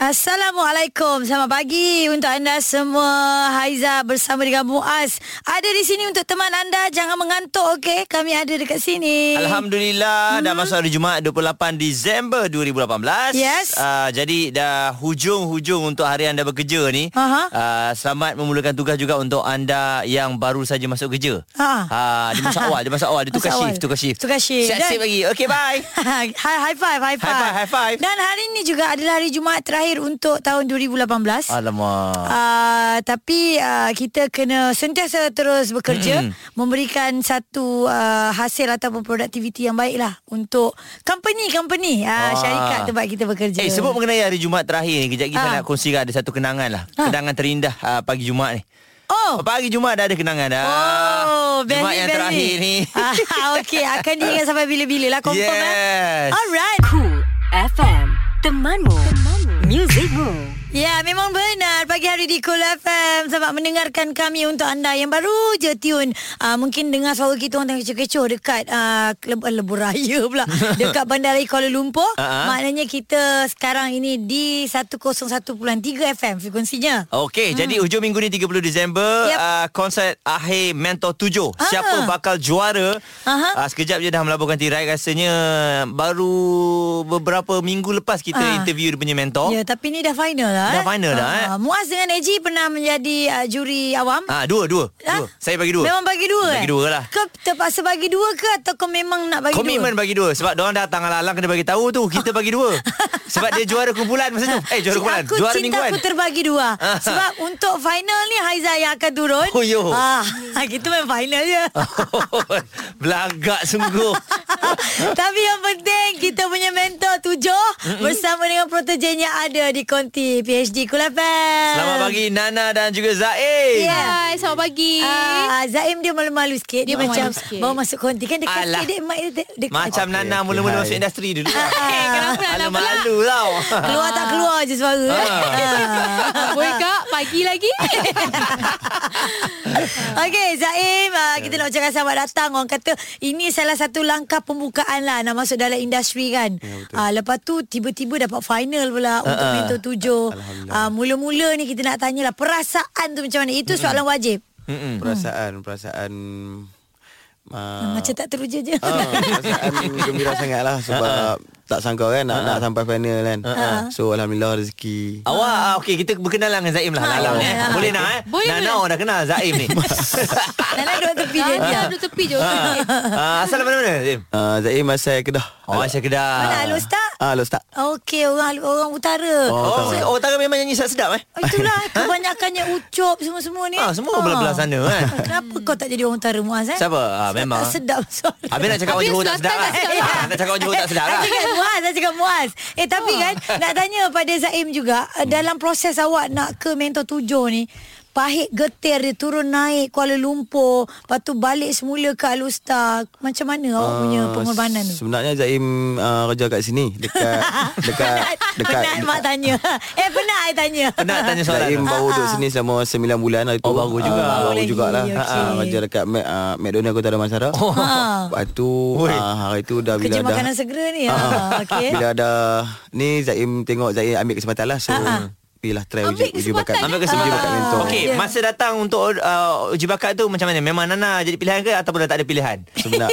Assalamualaikum Selamat pagi Untuk anda semua Haiza bersama dengan Muaz Ada di sini untuk teman anda Jangan mengantuk okey Kami ada dekat sini Alhamdulillah hmm. dah masuk hari Jumaat 28 Disember 2018. Yes. Uh, jadi dah hujung-hujung untuk hari anda bekerja ni. Aha. Uh, selamat memulakan tugas juga untuk anda yang baru saja masuk kerja. Ha. Uh, dia masuk awal, dia masuk awal, dia tukar Masuk shift, awal. tukar shift. Tukar shift. Siap-siap Dan- lagi. Okay, bye. Hi, high five, high five. five, high five. Dan hari ini juga adalah hari Jumaat terakhir untuk tahun 2018. Alamak. Uh, tapi uh, kita kena sentiasa terus bekerja Hmm. mm-hmm. memberikan satu uh, hasil ataupun produktiviti yang baiklah untuk company-company uh, Ah. syarikat tempat kita bekerja. Eh, sebut mengenai hari Jumaat terakhir ni. Kejap lagi saya Ah. nak kongsikan ada satu kenangan lah. Ah. Kenangan terindah uh, pagi Jumaat ni. Oh, Pagi Jumaat dah ada kenangan dah. Oh, very, Jumaat yang very. terakhir ni. Ah, okay, akan diingat sampai bila-bila lah. Confirm Yes. eh. Alright. Cool FM, temanmu, temanmu, muzikmu. Ya, memang benar. Pagi hari di Cool FM. Selamat mendengarkan kami untuk anda yang baru je tune. Uh, mungkin dengar suara kita orang tengah kecoh-kecoh dekat uh, leb- lebur raya pula. dekat Bandar Raya Kuala Lumpur. Ah, ah. Maknanya kita sekarang ini di 101.3 FM frekuensinya. Okey, hmm. jadi hujung minggu ni 30 Disember Yep. yep. uh, konsert akhir Mentor 7. Ah. Ha? Ah. Siapa bakal juara? Aha. Uh, sekejap je dah melaburkan tirai rasanya baru beberapa minggu lepas kita Ah. interview dia punya mentor. Ya, tapi ni dah final lah. Dah eh. final dah, Ah, eh. Muaz dengan Eji pernah menjadi uh, juri awam. Ah dua dua. Ah? dua. Saya bagi dua. Memang bagi dua Bagi dua lah. Kau terpaksa bagi dua ke Atau kau memang nak bagi Komitmen dua bagi dua sebab dia orang datang alang-alang kena bagi tahu tu kita bagi dua. sebab dia juara kumpulan masa tu. Eh juara kumpulan. aku juara cinta mingguan. aku terbagi dua Ah. Sebab untuk final ni Haiza yang akan turun Oh, yo. ah, Kita main final je Oh, Belagak sungguh. Tapi yang penting Kita punya mentor tujuh Bersama dengan protogennya ada Di konti PhD Kulafel Selamat pagi Nana dan juga Zain. Ya. Hai, selamat pagi. Ah, Zaim dia malu-malu sikit Dia, Dia macam malu sikit. Baru masuk konti Kan dekat Alah. sikit dia, mic dia, dia, Macam okay, Nana okey, mula-mula hai. masuk industri dulu. Eh, Eh, kenapa Nana Alah, pula? malu tau. Keluar tak keluar je suara eh. Ah. Boleh kak, pagi lagi. Okey Zaim uh, Kita nak ucapkan selamat datang Orang kata Ini salah satu langkah pembukaan lah Nak masuk dalam industri kan uh, Lepas tu Tiba-tiba dapat final pula Untuk ah. mentor tujuh uh, Mula-mula ni kita nak tanyalah Perasaan tu macam mana Itu soalan wajib Mm-mm. Perasaan Perasaan uh, Macam tak teruja je Ah, perasaan gembira sangat lah Sebab Tak sangka kan Nak, nak sampai final kan So Alhamdulillah rezeki Awak ah, okey kita berkenalan dengan Zaim lah. Ha, Lalang, boleh eh. lah. Boleh nak eh? Boleh, Nana boleh. orang dah kenal Zaim ni. Nana duduk tepi dia Dah, dia dah, duduk tepi je. Ah, asal dari mana Zaim? uh, Zaim asal Kedah Oh, asal Kedah. Mana halus tak? Ah, Los tak Okey orang orang utara Ah. Oh, Oh, oh, Tara memang nyanyi sedap eh? Oh, Itulah kebanyakannya ucup semua-semua ni Ah, semua belah-belah sana kan. Kenapa kau tak jadi orang utara Muaz eh? Siapa? Ah, Sebab memang. Tak sedap suara Habis nak cakap orang Habis Johor tak sedap selatan lah. tak sedap lah. Ah, Nak cakap orang Johor tak sedap lah. Saya cakap muas Saya cakap muas Eh tapi kan Nak tanya pada Zaim juga eh, Dalam proses awak Nak ke mentor tujuh ni Pahit getir dia turun naik Kuala Lumpur Lepas tu balik semula ke Alustar Macam mana Ah, awak punya pengorbanan tu? Ah, Sebenarnya Zaim uh, kerja kat sini Dekat Dekat Dekat Penat mak tanya Eh penat saya tanya Penat tanya soalan. Zaim tu. baru Ah, duduk sini selama 9 bulan hari tu. Oh, baru juga. Ah, Baru baru lagi, jugalah. okey. Okay. Ha, kerja dekat Mac, uh, McDonald Kota Damansara. Oh. Ah. Lepas tu Woi. ah, hari tu dah bila Kerja dah Ah, makanan segera ni ha, okay. Bila ada Ni Zaim tengok Zaim ambil kesempatan lah So Ah, ah. Pilih try Ambil uji, uji bakat kesempatan, Ambil eh? kesempatan. Uji bakat mentor Okey, Ya. masa datang untuk uh, uji bakat tu macam mana? Memang Nana jadi pilihan ke ataupun dah tak ada pilihan? Sebenarnya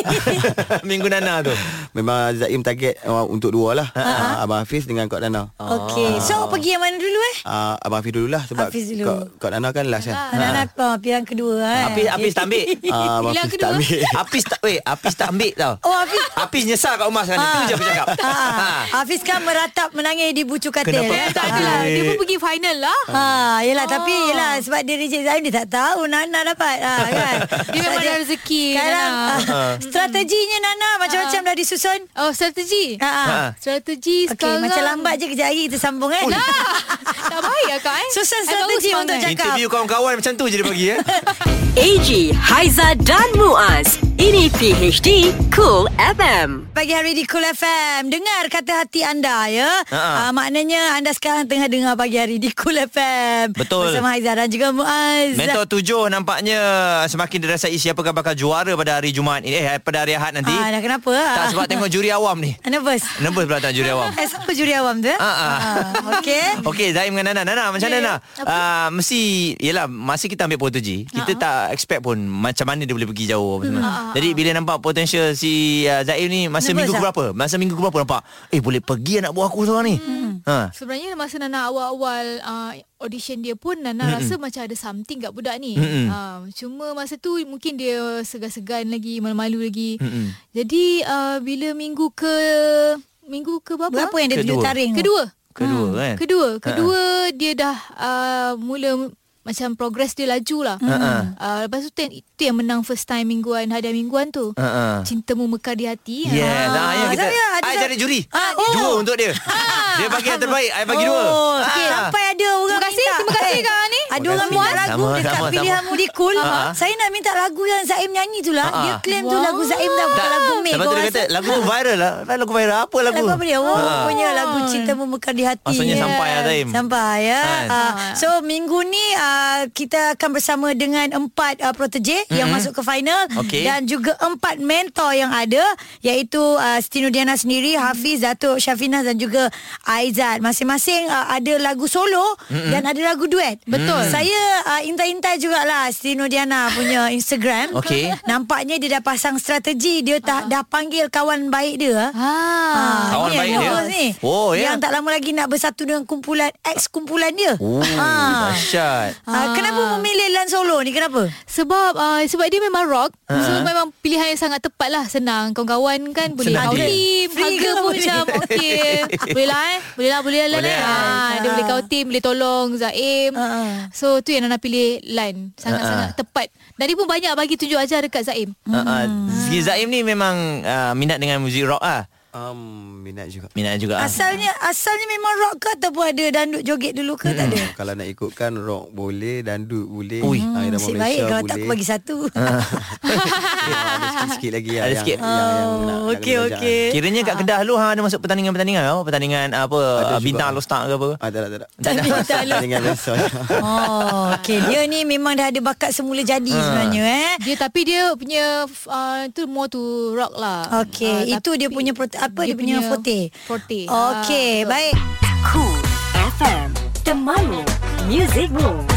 Minggu Nana tu. Memang Zaim target uh, Untuk dua Ah, lah uh, Abang Hafiz dengan Kak Nana okay. Ah. Ah. So pergi yang mana dulu eh? uh, Abang Hafiz dululah Sebab Hafiz dulu. Kak, Kak Nana kan last kan Ha. Anak-anak ah, pilihan kedua eh. Apis Apis tak ambil. Ah, Abang Bila Hafiz kedua? tak ambil Apis tak weh, Apis tak ambil tau. Oh Hafiz Apis nyesal kat rumah sekarang. Kan, Itu je aku cakap. Ah. ha. Ha. Hafiz kan meratap menangis di bucu katil eh? Kenapa aku tak Tak adalah, dia pun pergi final lah. Ha, yelah oh. tapi Ah. yelah sebab dia reject Zaim dia tak tahu Nana dapat ha, kan. Dia memang Sebab ada rezeki, Sekarang Nana. ah, strateginya Nana macam-macam dah disusun. Oh, strategi. Ha. ha. Ah. Strategi Okey, sekarang. macam lambat je kejap lagi kita sambung kan. Lah. tak baik lah kak eh. Susun I baru strategi untuk semangat. cakap. Interview kawan-kawan macam tu je dia bagi eh. AG Haiza dan Muaz. Ini PHD Cool FM. Pagi hari di Cool FM Dengar kata hati anda ya Ha-ha. uh, Maknanya anda sekarang tengah dengar pagi hari di Cool FM Betul. Bersama Aizah dan juga Muaz Mentor tujuh nampaknya semakin dirasai siapakah bakal juara pada hari Jumaat ini. Eh, pada hari Ahad nanti. Ah, dah kenapa? Tak sebab tengok juri awam ni. Nervous Nervous pula tengok juri awam. Eh siapa juri awam tu eh? Ah, ah. Ah, Okay Okey Zaim dengan Nana Nana macam Ya, mana Nana uh, Mesti Yelah Masa kita ambil Portugi Kita Ha. tak expect pun Macam mana dia boleh pergi jauh apa semua. Hmm. Jadi bila nampak Potential si uh, Zaim ni Masa Nervous minggu tak? berapa Masa minggu berapa nampak Eh boleh pergi anak buah aku seorang ni Hmm. ha. Sebenarnya masa Nana awal-awal uh, audition dia pun Nana Mm-mm. rasa macam ada something kat budak ni. Mm-mm. Uh, cuma masa tu mungkin dia segan-segan lagi, malu-malu lagi. Mm-mm. Jadi uh, bila minggu ke minggu ke berapa? Berapa yang dia Kedua. tunjuk taring tu? Kedua. Kedua kan Hmm. Kedua, kedua dia dah uh, mula macam progress dia laju lah. Ha-ha. Uh, lepas tu tu yang, tu yang menang first time mingguan hadiah mingguan tu. Ha-ha. Cintamu mekar di hati. ha, Yes, ah, Ah, ya kita. Zaria, ada Saya dah- jadi juri. Ah, oh. Ah. Dua untuk dia. Dia bagi yang terbaik, saya bagi dua. Oh, Ah. okay. Sampai ada orang Terima kasih, minta. terima kasih Eh, Kak Ani. Ada Terima orang kasih. minta lagu Sama, dekat sama, pilihanmu di Cool. Ah. Saya nak minta lagu yang Zaim nyanyi tu lah. Ah. Dia claim tu lagu Zaim dah bukan lagu Mei. Lepas tu dia kata, lagu tu viral lah. Lagu viral, apa lagu? Ah. Lagu apa dia? Oh, rupanya lagu Cinta Memekar di Hati. Maksudnya Ya. sampai lah, Zaim. Sampai ya. Kan? Ah, so minggu ni ah, kita akan bersama dengan empat uh, protege yang masuk ke final Okey. dan juga empat mentor yang ada iaitu uh, Diana sendiri, Hafiz, Datuk Syafina dan juga Aizat. Masing-masing ah, ada lagu solo dan ada lagu duet. Betul. Saya ah, intai-intai jugalah Stino Diana punya Instagram. Okey. Nampaknya dia dah pasang strategi, dia tak dah panggil kawan baik dia. ah. Ah. Kawan ni yang baik dia. fokus Ni. Oh, ya. Yang tak lama lagi nak bersatu dengan kumpulan ex kumpulan dia. Oh, Ah. dahsyat. Ah, kenapa memilih Lan Solo ni? Kenapa? Sebab uh, sebab dia memang rock. Ah. Uh-huh. So memang pilihan yang sangat tepat lah. Senang. Kawan-kawan kan boleh Senang kau dia. team. Free ke Harga pun boleh? macam okey. Boleh lah eh. Boleh lah, boleh lah. Lan, Boleh eh. lah. Ah, dia boleh kau team, boleh tolong Zaim. Ah. Uh-huh. So tu yang Nana pilih Lan. Sangat-sangat Ah. tepat. Dan dia pun banyak bagi tunjuk ajar dekat Zaim. Ah, ah, Hmm. Zee Zaim ni memang ah, minat dengan muzik rock ah. um, Minat juga Minat juga ah. Asalnya asalnya memang rock ke ataupun ada dandut joget dulu ke? Tak ada. Hmm. Kalau nak ikutkan Rock boleh Dandut boleh Ui. lah, ah, irama Nasib Malaysia baik kalau tak boleh. Ya, aku bagi satu. Ah, Ada sikit-sikit lagi lah Ada yang, sikit. yang, yang, nak, Oh, nak okey kena belajar. okey. Ah. Kiranya kat Kedah lu hang ada masuk pertandingan-pertandingan tau, pertandingan apa ah, juga. bintang lostak ke apa. Ah, tak, tak, tak, tak. Tak ada. Tak ada dengan biasa Oh, okey. Dia ni memang dah ada bakat semula jadi sebenarnya eh. Dia tapi dia punya uh, tu more to rock lah. Okey, Ah, itu dia tapi punya prote- apa dia, punya, forte. Forte. Ah, Okey, betul. baik. Cool FM. Temanmu. Music Moves.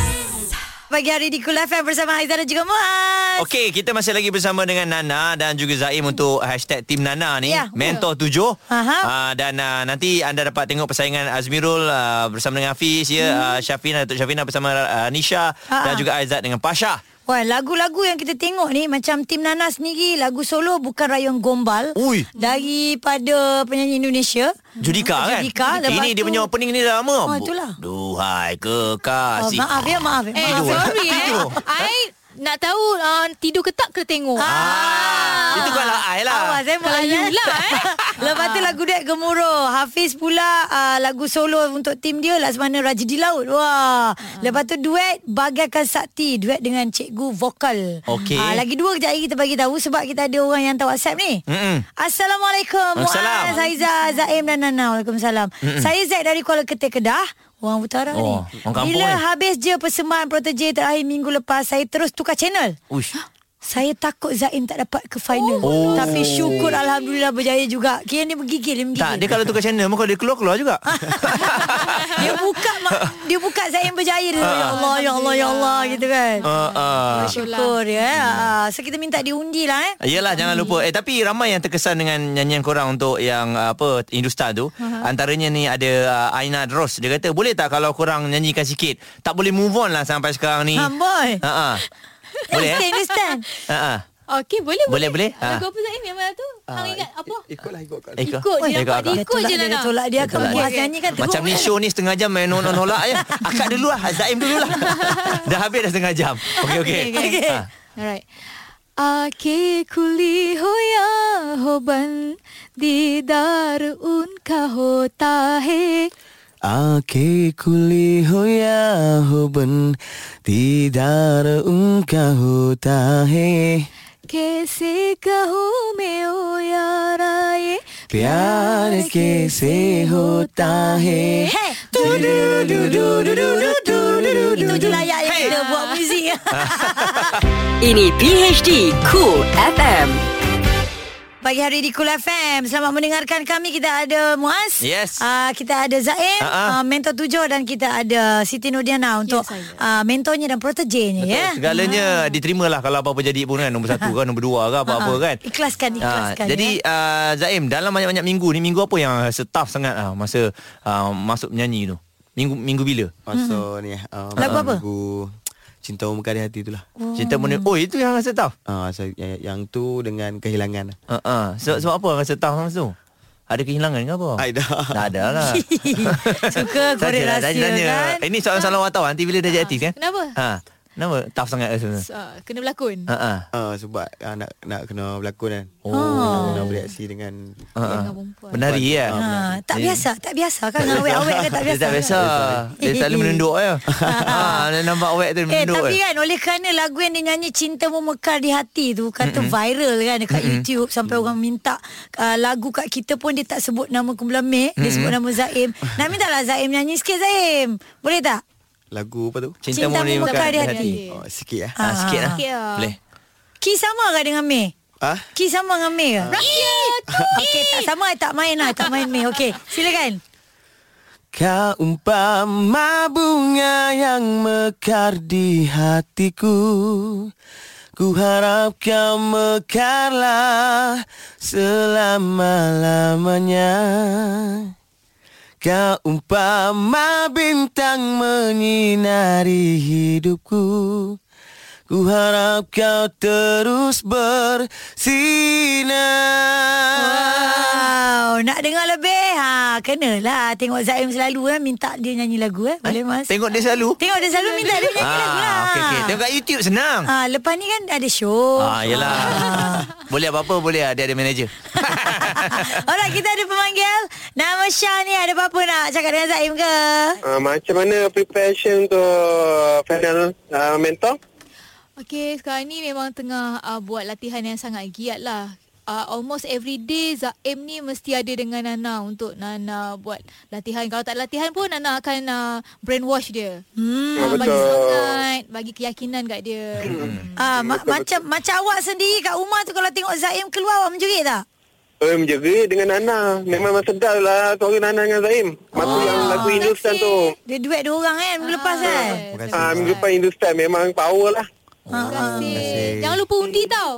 Pagi hari di Kul FM bersama Aizah dan juga Muaz. Okey, kita masih lagi bersama dengan Nana dan juga Zaim untuk hashtag Tim Nana ni, Ya. Mentor 7. Aha. Uh, dan uh, nanti anda dapat tengok persaingan Azmirul uh, bersama dengan Hafiz, ya, Hmm. uh, Syafina, Datuk Syafina bersama uh, Nisha Ah, ah. dan juga Aizat dengan Pasha. Wah, lagu-lagu yang kita tengok ni macam Tim Nana sendiri lagu solo bukan Rayon Gombal Ui. daripada penyanyi Indonesia. Judika kan? Judika, Ah, lepas Ini tu- dia punya opening ni dah lama. Oh, itulah. Duhai Oh, kekasih. maaf ya, maaf ya. Eh, maaf. Ah, Tidur. sorry eh. Tidur. I nak tahu uh, tidur ke tak kena tengok. Ah, itu bukanlah I lah. Awak saya Kalau you lah eh. Lepas tu lagu duet Gemuruh Hafiz pula uh, lagu solo untuk tim dia Laksmana Raja di Laut Wah Ah. Lepas tu duet Bagaikan Sakti Duet dengan cikgu vokal Okey. Ah, Lagi dua kejap lagi kita bagi tahu Sebab kita ada orang yang hantar whatsapp ni Mm-mm. Assalamualaikum Waalaikumsalam. Muaz, Aizah, Zaim dan Nana Waalaikumsalam Saya Zaid dari Kuala Ketir Kedah Orang utara ni Oh, orang kampung Bila ni. habis je persembahan Protege terakhir minggu lepas Saya terus tukar channel Uish. saya takut Zaim tak dapat ke final Oh. oh. Tapi syukur Alhamdulillah berjaya juga Kira dia menggigil Dia menggigil Tak, dia kalau tukar channel, muka dia keluar-keluar juga. dia buka ma- Dia buka Zaim berjaya dia, Ah. Ya Allah Ya Allah Ya Allah Gitu kan uh, uh. Syukur ya Hmm. Ah, So kita minta diundi lah eh Yelah jangan Hmm. lupa Eh tapi ramai yang terkesan Dengan nyanyian korang Untuk yang uh, apa Hindustan tu uh-huh. Antaranya ni ada uh, Aina Dros Dia kata Boleh tak kalau korang Nyanyikan sikit Tak boleh move on lah Sampai sekarang ni uh-huh. Amboi Boleh Understand, eh understand uh-huh. Okey, boleh Boleh, boleh. Lagu Ah. apa Zaim yang mana tu? Hang ingat apa? Ikutlah ikut kat Ikut. Ikut Oh, Ikut je nampak akak. dia Dia ikut tolak je dia, dia Nana. tolak Dia akan Tolak buat dia. nyanyi kan Macam ni show ni setengah jam Main nolak-nolak je Akak dulu lah Zaim dulu lah Dah habis dah setengah jam Okey okey Okay. Ah. Alright. Ake kuli hoya hoban didar unka hota hai आँखें खुली हो या हो बन दीदार उनका होता है कैसे कहूँ मैं ओ यार आए प्यार कैसे होता है Hey. Itu je layak yang kita buat muzik. Ini PHD Cool FM. Pagi hari di Kul FM Selamat mendengarkan kami Kita ada Muaz Yes. uh, Kita ada Zaim uh, Ha-ha. Mentor tujuh Dan kita ada Siti Nurdiana Untuk Ya, saya. uh, mentornya dan protegenya Betul, ya. Segalanya diterima lah Kalau apa-apa jadi pun kan Nombor satu kan Nombor dua ke apa-apa Ha-ha. kan Ikhlaskan, Ah, ikhlaskan, ya. Jadi ah, Zaim Dalam banyak-banyak minggu ni Minggu apa yang rasa tough sangat ah, Masa ah, masuk menyanyi tu Minggu minggu bila Masa ni um, Mhm. Lagu apa? Lagu Cinta Memekari Hati tu lah oh. Cinta menurut Oh itu yang rasa tough uh, Ah, so, yang, ya, yang tu dengan kehilangan uh, uh. Sebab, sebab apa rasa tough masa tu ada kehilangan ke apa? Tak ada. Tak ada lah. Suka korek Sajalah, rahsia kan Ini soalan-soalan wartawan Nanti bila dah jadi aktif kan? Kenapa? Ha. Kenapa? Tough sangat rasa tu. uh, Kena berlakon Hmm. Ha ah. uh, Sebab uh, nak, nak kena berlakon kan Oh. Nak kena bereaksi dengan Ha ah. Dengan perempuan. Benari ya. ha, Ah, Tak biasa Tak biasa kan Awet-awet kan tak Dia biasa tak biasa Dia selalu menunduk je ha, Dia nampak awet tu dia Eh menunduk tapi je kan Oleh kerana lagu yang dia nyanyi Cinta memekar di hati tu Kata mm-hmm. viral kan Dekat mm-hmm. YouTube Sampai orang minta uh, Lagu kat kita pun Dia tak sebut nama Kumpulan Mek mm-hmm. Dia sebut nama Zaim Nak minta lah Zaim Nyanyi sikit Zaim Boleh tak? lagu apa tu? Cinta memekar di hati. ah. Oh, sikit eh. Ha, sikit lah Sikit lah. Boleh Ki sama ke dengan Mek? Ha? Ah, Ki sama dengan Mek Ah. ke? Rakyat Okay tak sama Tak main lah Tak main Mek Okay silakan Kau umpama bunga yang mekar di hatiku Ku harap kau mekarlah selama-lamanya Kau umpama bintang menyinari hidupku Ku harap kau terus bersinar Wow, nak dengar lebih? Ha, kenalah tengok Zaim selalu eh minta dia nyanyi lagu eh. Boleh Mas? Tengok dia selalu Tengok dia selalu minta dia nyanyi lagu lah. Ah, okay, okay. Tengok kat YouTube senang Ha, lepas ni kan ada show. Ah, yelah Boleh apa-apa boleh lah Dia ada manager Alright, kita ada pemanggil. Nama Syah ni ada apa-apa nak cakap dengan Zaim ke? Uh, macam mana preparation untuk final uh, mentor? Okay, sekarang ni memang tengah uh, buat latihan yang sangat giat lah. Uh, almost every day Zaim ni mesti ada dengan Nana untuk Nana buat latihan. Kalau tak latihan pun Nana akan uh, brainwash dia. Hmm, uh, bagi Betul. semangat, bagi keyakinan kat dia. Hmm. Ha, Ah, ma- macam macam awak sendiri kat rumah tu kalau tengok Zaim keluar awak menjerit tak? Eh, menjaga dengan Nana. Memang sedap lah suara Nana dengan Zaim. Masa Ah. oh, yang lagu Hindustan tu. Ah, Dia duet dua orang kan minggu lepas kan? kasih. Ah, minggu depan Hindustan memang power lah. Ah, Terima kasih. Jangan lupa undi tau.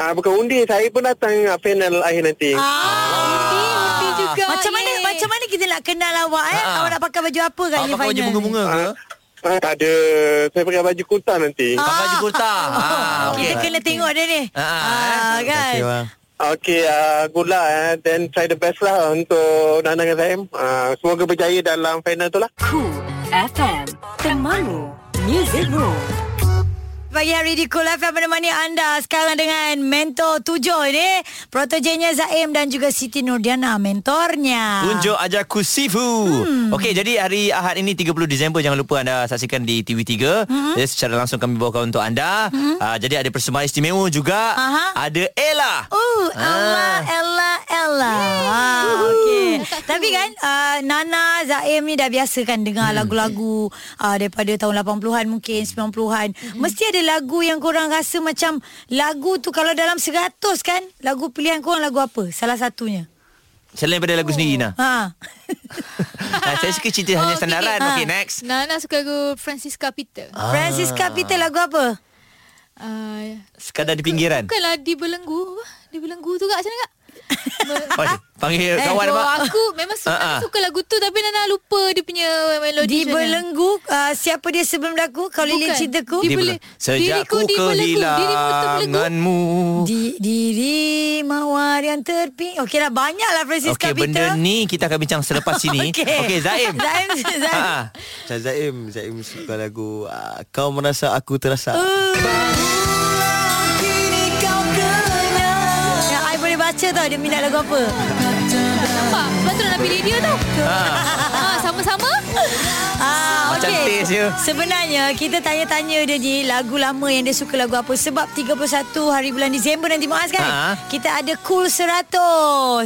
Ah, bukan undi, saya pun datang ah, final akhir nanti. Ah, Undi, undi juga. macam mana Ye. macam mana kita nak kenal awak eh? Ha. Awak nak pakai baju apa kat Awak ni pakai baju final? Ah, bunga-bunga ke? Ah, tak ada. Saya pakai baju kurta nanti. Pakai baju kurta Ah, Ah, okay. Kita okay. kena tengok dia ni. Ah, Ah, kan. Terima kasih, bang. Okay, uh, good luck. Eh. Then try the best lah untuk Nana dengan Zaim. Ah, semoga berjaya dalam final tu lah. Cool FM. Temanmu. Music Room. Pagi hari di Kul FM menemani anda sekarang dengan mentor tujuh ni. Protogenya Zaim dan juga Siti Nurdiana mentornya. Tunjuk aja ku Sifu. Hmm. Okey, jadi hari Ahad ini 30 Disember jangan lupa anda saksikan di TV3. Hmm. Jadi secara langsung kami bawakan untuk anda. Hmm. Uh, jadi ada persembahan istimewa juga. Aha. Ada Ella. Oh, Ah. Ella, Ella, Ella. Ah, okay. Tapi kan uh, Nana Zaim ni dah biasa kan Hmm. dengar lagu-lagu uh, daripada tahun 80-an mungkin 90-an. Hmm. Mesti ada lagu yang korang rasa macam lagu tu kalau dalam 100 kan, lagu pilihan korang lagu apa? Salah satunya. Selain daripada lagu sendiri Nah. Ha. nah saya suka cerita Oh, hanya sandaran. okey. Okey, Ah. next. Nana suka lagu Francisca Peter. Francis Capital Ah. lagu apa? Uh, Sekadar di pinggiran. bukanlah di belenggu. Di belenggu tu kat sana kak? Oi, panggil Ya, kawan oh, apa? aku memang suka, Ah, ah. suka lagu tu tapi Nana lupa dia punya melodi. Di macam mana. belenggu uh, siapa dia sebelum aku kau lilit Bukan. cintaku Di di, bele- Sejak diriku ku di belenggu. Diriku kehilanganmu. di diri mawar yang terping okeylah banyaklah Francis Okey, okay, benda Capital ni kita akan bincang selepas sini. Okey. Okey, Zaim. Zaim Zaim Ha. Macam Zaim Zaim suka lagu ah, Kau merasa aku terasa Oh, Yang I boleh baca tau dia minat lagu apa Nampak? Patut nak pilih dia tau ha, Sama-sama Ah, Macam okey. taste je. Sebenarnya kita tanya-tanya dia je lagu lama yang dia suka lagu apa sebab 31 hari bulan Disember nanti Muaz kan. Ha. Kita ada Cool 100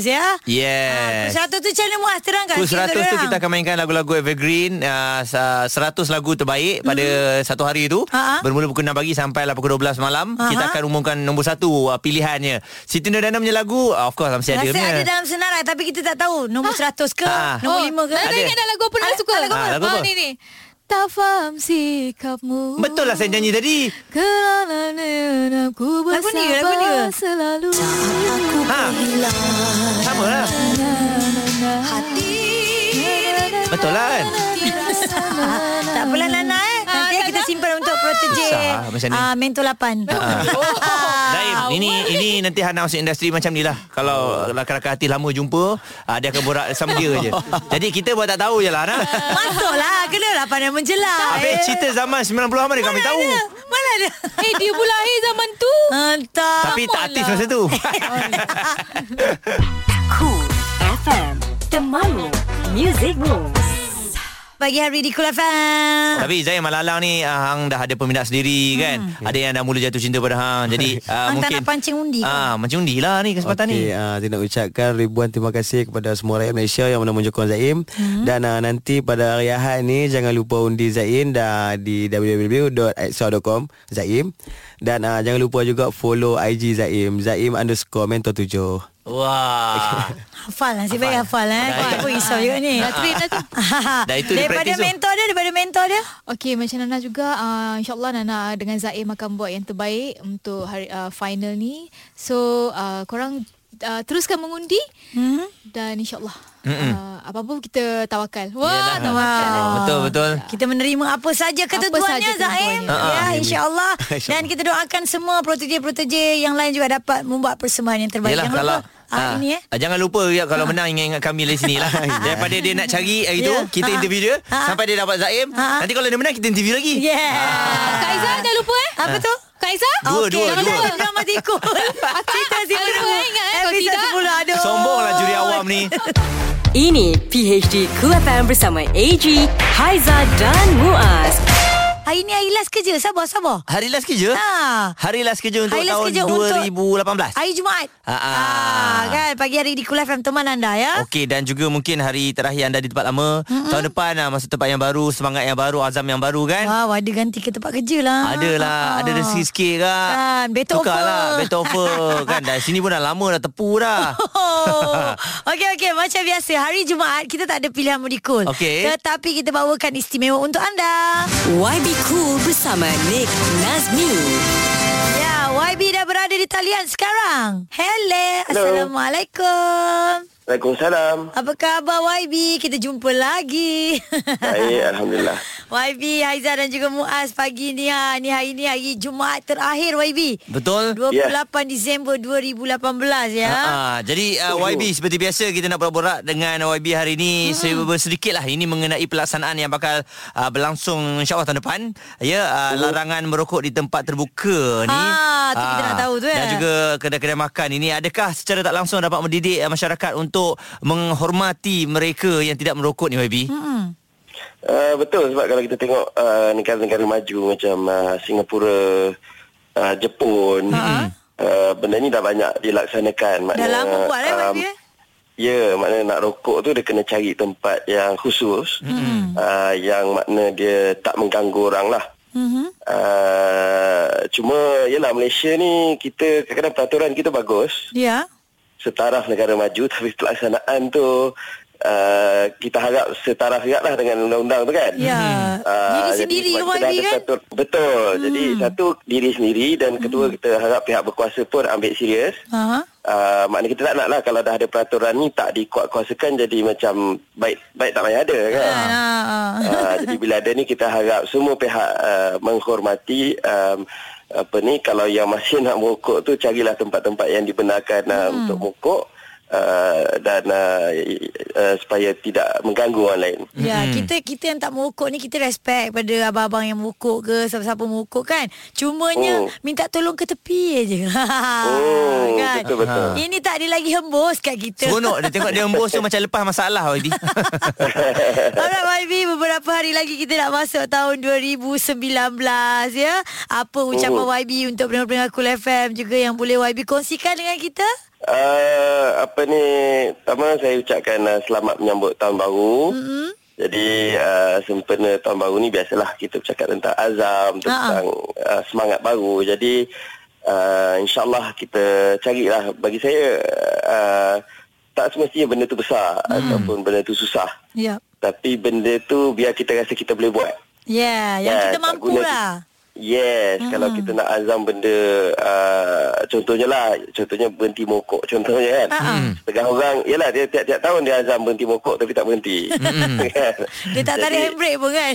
ya. Yes. Cool 100 tu macam mana Muaz terangkan Cool sikit 100 untuk tu dorang. kita akan mainkan lagu-lagu evergreen uh, 100 lagu terbaik pada satu hari tu Mm-hmm. Ha-ha. Bermula pukul 6 pagi sampai lah pukul 12 malam Ha-ha. Kita akan umumkan nombor satu uh, pilihannya Siti Nurdana punya lagu uh, Of course lah, mesti ada Rasa punya ada dalam senarai tapi kita tak tahu nombor 100 ke, Ha. nombor Oh, 5 ke. Nana Ada. ingat dah lagu apa Nana Ah, suka lagu apa? Ah, lagu apa? ni ni Tak faham sikapmu Betul lah saya nyanyi tadi Kerana nenap ku bersabar Lagu ni ke? Lagu ni ke? selalu ha. Sama lah Betul lah kan Tak apalah Nana eh. Nanti Ah, kita simpan untuk protege Sah, lah macam ni. ah, Mentor 8. Oh, Ah, Zaim, ini ini nanti Hana masuk industri macam ni lah. Kalau rakan-rakan hati lama jumpa, ah, dia akan borak sama dia je. Jadi kita buat tak tahu je lah Hana. Masuklah, kenalah pandai menjelah. Habis cerita zaman 90-an mana kami tahu. Ada. Ah, ya. Mana ada? Eh dia pula eh zaman tu Entah. Tapi tak artis masa tu. lah. Cool FM The Mamu Music Rules Pagi hari di Kul FM. Tapi Zain Malalang ni ah, Hang dah ada peminat sendiri kan Ada yang dah mula jatuh cinta pada Hang Jadi Hmm. Hang tak ah, mungkin nak pancing undi ke? ah, Mancing undi lah ni kesempatan Okey, ni uh, saya nak ucapkan ribuan terima kasih kepada semua rakyat Malaysia yang mana menyokong Zaim hmm. dan uh, nanti pada hari Ahad ni jangan lupa undi Zaim dah di www.extra.com Zaim dan uh, jangan lupa juga follow IG Zaim Zaim underscore mentor 7 Wah Hafal lah. Nasib baik hafal eh. Baik. Kita pun risau juga ni. Dah train dah tu Dah itu dia daripada practice tu. mentor dia Daripada mentor dia Okey macam Nana juga uh, InsyaAllah Nana dengan Zaim akan buat yang terbaik Untuk hari uh, final ni So uh, korang uh, teruskan mengundi Hmm? mm-hmm. Dan insyaAllah uh, Apa-apa kita tawakal Wah Yelah. Ah. tawakal Ah, Betul betul Kita menerima apa saja ketentuannya saja Zaim Ah, ketentuannya. Ya insyaAllah Dan kita doakan semua Protege-protege Yang lain juga dapat Membuat persembahan yang terbaik Yelah Jangan kalau lupa ah, Ini eh Ah. ah, Jangan lupa ya, Kalau menang ingat-ingat kami dari sini lah Daripada dia nak cari hari tu Ya. Kita Ah. interview dia Ah. Sampai dia dapat Zaim Ah. Nanti kalau dia menang Kita interview lagi Ah, Yeah Kak Izzah dah lupa eh Apa tu? Kak Izzah Dua, Okey, dua, jangan dua. lupa drama tikul eh, Cerita si Kalau Beramu. ingat, eh, kalau Episode tidak- 10 Aduh Sombong lah juri awam ni Ini PHD Cool FM bersama AG Haiza dan Muaz Hari ni hari last kerja Sabar-sabar Hari last kerja Ah. Hari last kerja untuk Hari last tahun kerja untuk- 2018 Hari Jumaat Ah, ah. Kan pagi hari di Kul FM Teman anda ya Okey dan juga mungkin hari terakhir anda di tempat lama mm-hmm. Tahun depan ah, masa tempat yang baru Semangat yang baru Azam yang baru kan Wow, ada ganti ke tempat kerja lah. Adalah Ada rezeki sikit kak Kan, better Tukar offer. lah Better offer Kan dari sini pun dah lama Dah tepu dah Oh. Okey okey macam biasa hari Jumaat kita tak ada pilihan mudik cool. Okey. Tetapi kita bawakan istimewa untuk anda. YB Cool bersama Nick Nazmi Ya, YB dah berada di talian sekarang. Hello. Assalamualaikum. Waalaikumsalam. Apa khabar YB? Kita jumpa lagi. Baik, Alhamdulillah. YB, Haizah dan juga Muaz pagi ni ha. Ni hari ni hari Jumaat terakhir YB. Betul 28 Disember 2018 ya. Ha, jadi uh, YB seperti biasa kita nak borak-borak dengan YB hari ini hmm. sedikit lah ini mengenai pelaksanaan yang bakal uh, berlangsung insyaallah tahun depan ya uh, larangan merokok di tempat terbuka ni Oh. Ah, tu kita Ah, nak tahu tu, dan eh. juga kedai-kedai makan ini adakah secara tak langsung dapat mendidik uh, masyarakat untuk menghormati mereka yang tidak merokok ni YB hmm. Uh, betul sebab kalau kita tengok uh, negara-negara maju macam uh, Singapura, uh, Jepun, uh, benda ni dah banyak dilaksanakan. Maknanya, Ha. um, lama buat, eh, Wan Bi, eh? Ya, maknanya nak rokok tu dia kena cari tempat yang khusus mm-hmm. uh, yang makna dia tak mengganggu orang lah. Mm-hmm. Mhm. Uh, cuma, yelah Malaysia ni kita kadang-kadang peraturan kita bagus Ya. setaraf negara maju tapi pelaksanaan tu uh, kita harap setaraf juga lah dengan undang-undang tu kan. Ya. Ah, Diri jadi sendiri sebab ke kita dah YB ada kan? Satu, betul. Hmm. Jadi satu diri sendiri dan kedua Hmm. kita harap pihak berkuasa pun ambil serius. Ha. Uh, maknanya kita tak nak lah kalau dah ada peraturan ni tak dikuat-kuasakan jadi macam baik baik tak payah ada kan. Ha. ha. Uh, jadi bila ada ni kita harap semua pihak uh, menghormati um, apa ni kalau yang masih nak merokok tu carilah tempat-tempat yang dibenarkan uh, hmm. ah, untuk merokok uh, dan uh, uh, supaya tidak mengganggu orang lain. Ya, hmm. kita kita yang tak merokok ni kita respect pada abang-abang yang merokok ke siapa-siapa merokok kan. Oh. Cumanya minta tolong ke tepi aje. Oh, betul, betul. Ha. Ini tak ada lagi hembus kat kita. Seronok dia tengok dia hembus tu macam lepas masalah Wadi. Alright YB Beberapa hari lagi kita nak masuk tahun 2019 ya Apa ucapan Oh. YB untuk pendengar-pendengar Cool FM juga Yang boleh YB kongsikan dengan kita Uh, apa ni pertama saya ucapkan uh, selamat menyambut tahun baru. Mm-hmm. Jadi uh, sempena tahun baru ni biasalah kita bercakap tentang azam tentang uh, semangat baru. Jadi uh, insyaallah kita carilah bagi saya uh, tak semestinya benda tu besar mm. ataupun benda tu susah. Ya Tapi benda tu biar kita rasa kita boleh buat. Ya yeah, yang Ya, kita tak mampu guna- lah Yes, hmm. kalau kita nak azam benda uh, contohnya lah, contohnya berhenti mokok contohnya kan. Hmm. Setengah orang, yalah dia tiap-tiap tahun dia azam berhenti mokok tapi tak berhenti. Hmm. Dia tak tarik handbrake pun kan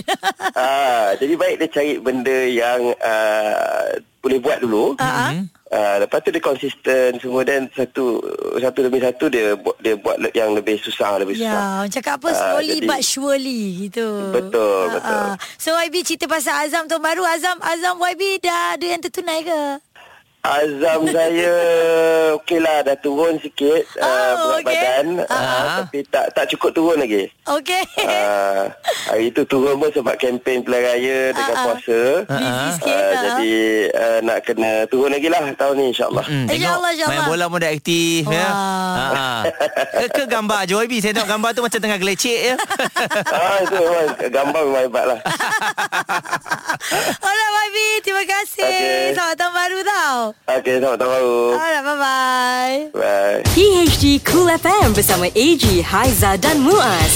Ah, jadi baik dia cari benda yang uh, boleh buat dulu. Ha? Uh-huh. Uh, lepas tu dia konsisten semua dan satu satu demi satu dia buat dia buat le- yang lebih susah lebih Ya susah. orang cakap apa Ah, Slowly jadi- but surely gitu Betul, Ah, betul. ah. So YB cerita pasal Azam tahun baru Azam Azam YB dah ada yang tertunai ke Azam saya okeylah dah turun sikit oh, Oh, uh, berat okey. okay. badan uh, Ah. tapi tak tak cukup turun lagi. Okay Uh, hari itu turun pun sebab kempen pilihan raya dengan Ah, ah. puasa. Busy Uh, sikit ah. jadi uh, nak kena turun lagi lah tahun ni insyaAllah. Eh, Hmm, tengok insyaAllah, insyaAllah. main bola pun dah aktif ya. Wah. Ha. ha. Ke, ke gambar je YB. Saya tengok gambar tu macam tengah gelecek ya. ah, itu memang gambar memang hebat lah. Alright YB Terima kasih Okey. Selamat tahun baru tau Okey, selamat tahun baru. Alright bye bye Bye. PHD Cool FM bersama AG, Haiza dan Muaz.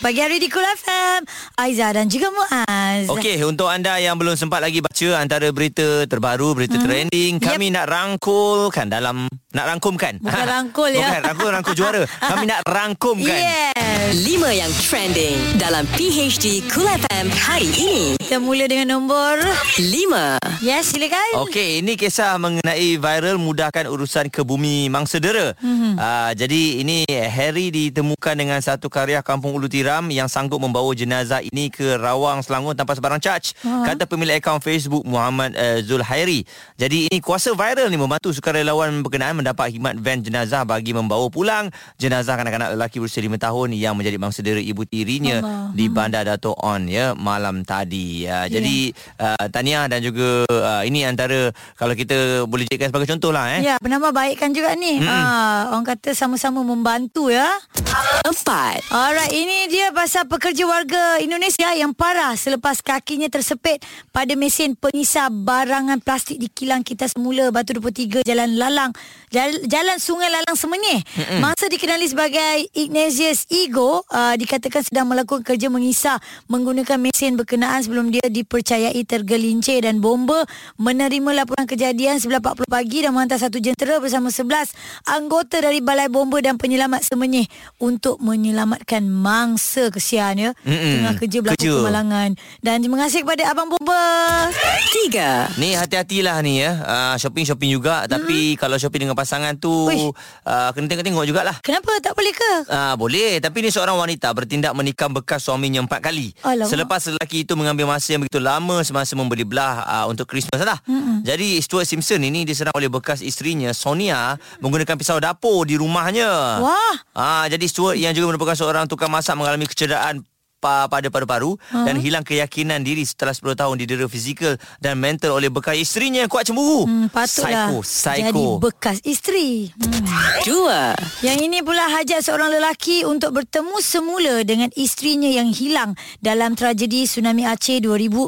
Pagi hari di Kul FM Aiza dan juga Muaz Okey, untuk anda yang belum sempat lagi baca antara berita terbaru, berita hmm. trending, kami yep. nak rangkulkan dalam nak rangkumkan. Bukan rangkul, ya. Bukan rangkul rangkul juara. Kami nak rangkumkan. Yes Lima yang trending dalam PHD Cool FM hari ini. Kita mula dengan nombor Lima. Yes silakan Okey, ini kisah mengenai viral mudahkan urusan kebumi mangsedera. Mm-hmm. Uh, jadi ini Harry ditemukan dengan satu karya kampung Ulu Tiram yang sanggup membawa jenazah ini ke Rawang Selangor tanpa sebarang charge. Uh-huh. Kata pemilik akaun Facebook Muhammad uh, Zulhairi. Jadi ini kuasa viral ni membantu sukarelawan berkenaan mendapat khidmat van jenazah bagi membawa pulang jenazah kanak-kanak lelaki berusia 5 tahun yang menjadi mangsedera ibu tirinya Allah. di Bandar Dato' On ya malam tadi. Uh, yeah. Jadi Ya. uh, Tania dan juga uh, ini antara kalau kita boleh jadikan sebagai contoh lah eh. Ya bernama baikkan juga ni ha, Orang kata sama-sama membantu ya Empat. Alright, ini dia pasal pekerja warga Indonesia yang parah selepas kakinya tersepit pada mesin pengisap barangan plastik di kilang kita semula Batu 23 Jalan Lalang Jal- Jalan Sungai Lalang Semenyih. Mm-mm. Masa dikenali sebagai Ignatius Ego uh, dikatakan sedang melakukan kerja mengisap menggunakan mesin berkenaan sebelum dia dipercayai tergelincir dan bomba menerima laporan kejadian 9.40 pagi dan menghantar satu jentera bersama 11 anggota dari Balai Bomba dan Penyelamat Semenyih untuk menyelamatkan mangsa kesian ya Mm-mm. tengah kerja berlaku Kerja. kemalangan dan terima kasih kepada abang Bomba Tiga. Ni hati-hatilah ni ya. Uh, shopping-shopping juga tapi kalau shopping dengan pasangan tu Hmm. Uish. uh, kena tengok-tengok jugalah. kenapa tak boleh ke Ah boleh tapi ni seorang wanita bertindak menikam bekas suaminya empat kali. Alamak. Selepas lelaki itu mengambil masa yang begitu lama semasa membeli belah ah, untuk Christmas lah. Mm-hmm. Jadi Stuart Simpson ini diserang oleh bekas isterinya Sonia menggunakan pisau dapur di rumahnya. Wah. Ah jadi Stuart yang juga merupakan seorang tukang masak mengalami kecederaan pa- pada paru-paru uh-huh. dan hilang keyakinan diri setelah 10 tahun didera fizikal dan mental oleh bekas isterinya yang kuat cemburu. Hmm, patutlah Psycho, psycho. jadi bekas isteri. Hmm. Dua. Yang ini pula hajat seorang lelaki untuk bertemu semula dengan isterinya yang hilang dalam tragedi tsunami Aceh 2004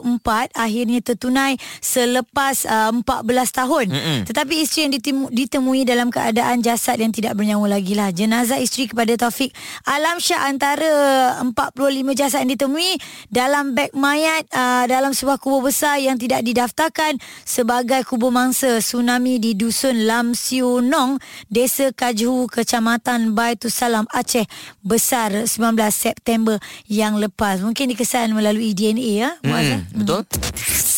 akhirnya tertunai selepas uh, 14 tahun. Mm-mm. Tetapi isteri yang ditemu, ditemui dalam keadaan jasad yang tidak bernyawa lagi lah. Jenazah isteri kepada Taufik Alamsyah antara 45 jasad yang ditemui dalam beg mayat uh, dalam sebuah kubur besar yang tidak didaftarkan sebagai kubur mangsa tsunami di dusun Lam Siu Nong, Desa Kajhu, Kecamatan Baitusalam, Aceh besar 19 September yang lepas. Mungkin dikesan melalui DNA ya. Muaz, eh? Hmm, betul?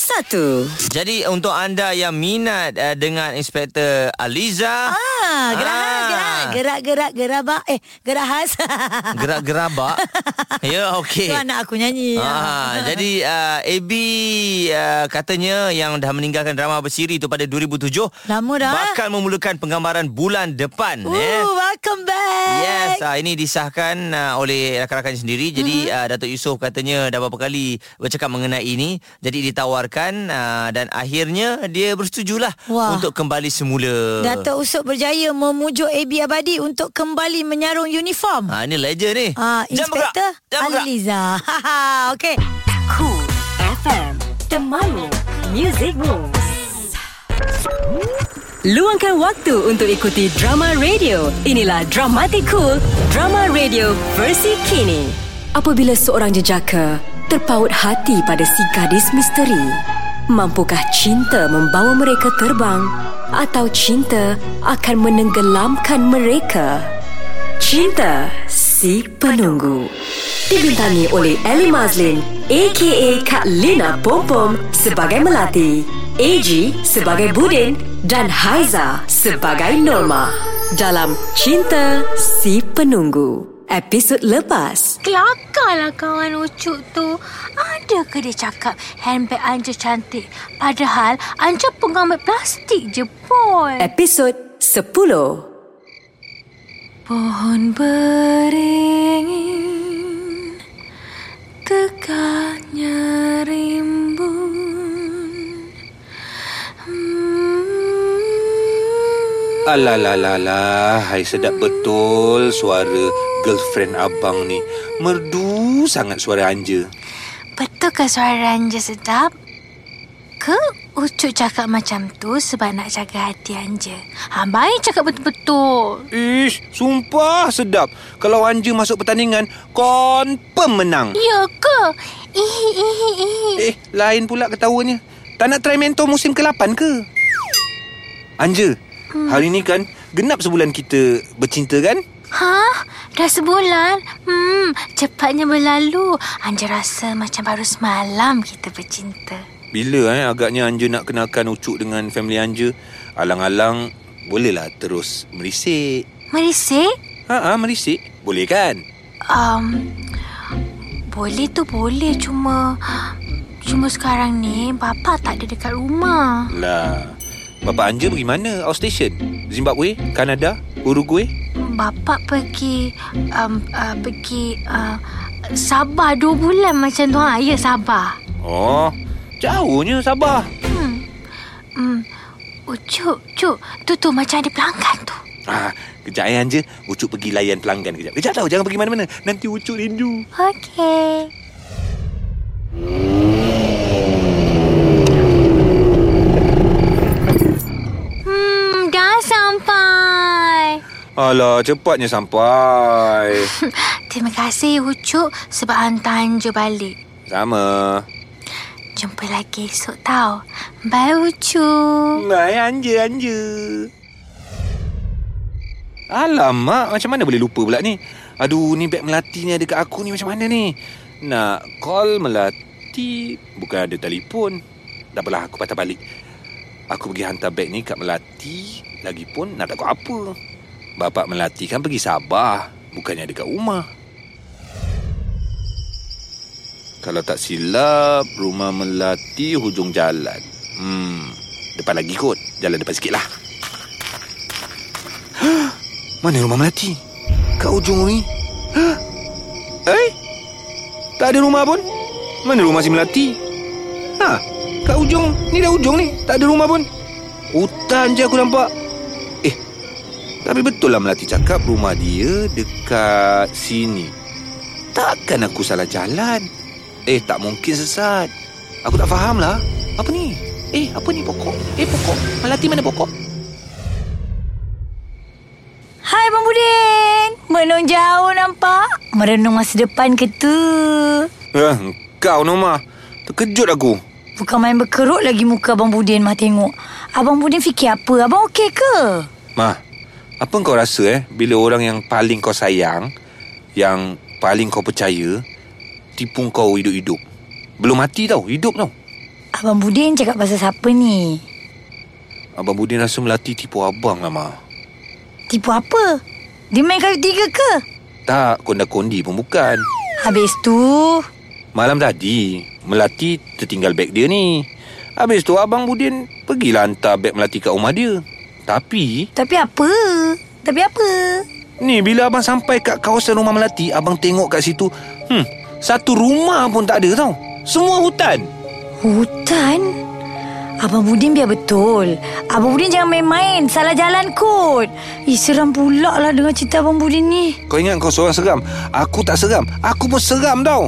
satu. Jadi untuk anda yang minat uh, dengan Inspektor Aliza Ah, gerak Ah. Hmm, gerak gerak gerak gerak bak eh gerak has. gerak-gerabak. ya Tu okey. anak aku nyanyi. Ah, jadi uh, AB uh, katanya yang dah meninggalkan drama bersiri itu pada 2007 Lama dah, eh? Uh, bakal memulakan penggambaran bulan depan Ooh, eh. welcome back. Yes, uh, ini disahkan uh, oleh rakan-rakan sendiri. Jadi mm-hmm. uh, Datuk Yusof katanya dah beberapa kali bercakap mengenai ini. Jadi ditawarkan uh, dan akhirnya dia bersetujulah Wah. untuk kembali semula. Dato' Usop berjaya memujuk AB Abadi untuk kembali menyarung uniform. Ha, ini legend ni. Ah, Jam bergerak. Inspektor Jam bergerak. Aliza. Haha, okey. Cool FM. Temanmu. Music Moves. Luangkan waktu untuk ikuti drama radio. Inilah Dramatic Cool, drama radio versi kini. Apabila seorang jejaka terpaut hati pada si gadis misteri, mampukah cinta membawa mereka terbang atau cinta akan menenggelamkan mereka? Cinta Si Penunggu Dibintangi oleh Ellie Mazlin A.K.A. Kak Lina Pompom sebagai Melati AG sebagai Budin dan Haiza sebagai Norma dalam Cinta Si Penunggu episod lepas Kelakarlah lah kawan Ucup tu. Adakah dia cakap handbag Anja cantik? Padahal Anja pengambil plastik je, Paul. episod 10 Pohon beringin Tegaknya rimbun hmm. Alalalah, hai sedap betul suara girlfriend abang ni. Merdu sangat suara anja. Betul ke suara Anja sedap? Ke Ucup cakap macam tu sebab nak jaga hati Anja? Ha, baik cakap betul-betul. Ish, sumpah sedap. Kalau anja masuk pertandingan, confirm menang. Ya ke? Ihi, ihi, ihi. Hmm. Eh, lain pula ketawanya. Tak nak try mentor musim ke-8 ke? Anja, Hmm. hari ni kan genap sebulan kita bercinta kan? Hah? Dah sebulan? Hmm, cepatnya berlalu. Anja rasa macam baru semalam kita bercinta. Bila eh agaknya Anja nak kenalkan Ucuk dengan family Anja, alang-alang bolehlah terus merisik. Merisik? Ha ah, merisik. Boleh kan? Um, boleh tu boleh cuma... Cuma sekarang ni, bapa tak ada dekat rumah. Lah. Bapa Anja pergi mana? Outstation? Zimbabwe? Kanada? Uruguay? Bapa pergi... Um, uh, pergi... Uh, Sabah dua bulan macam tu. Ha, ya, Sabah. Oh, jauhnya Sabah. Hmm. Oh, Cuk, Cuk. Tu tu macam ada pelanggan tu. Ah, kejap eh Anja. Ucuk pergi layan pelanggan kejap. Kejap tau, jangan pergi mana-mana. Nanti Ucuk rindu. Okey. Hmm, dah sampai. Alah, cepatnya sampai. Terima kasih Ucup sebab hantar Anja balik. Sama. Jumpa lagi esok tau. Bye Ucup. Hai, Anja, Anja. Alamak, macam mana boleh lupa pula ni? Aduh, ni beg Melati ni ada kat aku ni macam mana ni? Nak call Melati, bukan ada telefon. Tak apalah, aku patah balik. Aku pergi hantar beg ni kat Melati. Lagipun, nak takut apa? Bapak Melati kan pergi Sabah. Bukannya dekat rumah. Kalau tak silap, rumah Melati hujung jalan. Hmm, depan lagi kot. Jalan depan sikit lah. Mana rumah Melati? Kat hujung ni? Hah? Eh? Tak ada rumah pun? Mana rumah si Melati? Ha? Kat hujung? Ni dah hujung ni. Tak ada rumah pun. Hutan je aku nampak. Eh, tapi betul lah Melati cakap rumah dia dekat sini. Takkan aku salah jalan. Eh, tak mungkin sesat. Aku tak faham lah. Apa ni? Eh, apa ni pokok? Eh, pokok. Melati mana pokok? Hai Bang Budin. Menung jauh nampak? Merenung masa depan ke tu? Eh, kau Norma. Terkejut aku. Bukan main berkerut lagi muka Abang Budin mah tengok. Abang Budin fikir apa? Abang okey ke? Ma, apa kau rasa eh bila orang yang paling kau sayang, yang paling kau percaya, tipu kau hidup-hidup? Belum mati tau, hidup tau. Abang Budin cakap pasal siapa ni? Abang Budin rasa Melati tipu abang lah, Ma. Tipu apa? Dia main kayu tiga ke? Tak, konda-kondi pun bukan. Habis tu... Malam tadi, Melati tertinggal beg dia ni. Habis tu Abang Budin pergilah hantar beg Melati kat rumah dia. Tapi, Tapi apa? Tapi apa? ni bila Abang sampai kat kawasan rumah Melati, Abang tengok kat situ, hmm, satu rumah pun tak ada tau. Semua hutan. Hutan? Abang Budin biar betul. Abang Budin jangan main-main. Salah jalan kot. Ih, seram pula lah dengan cerita Abang Budin ni. Kau ingat kau seorang seram? Aku tak seram. Aku pun seram tau.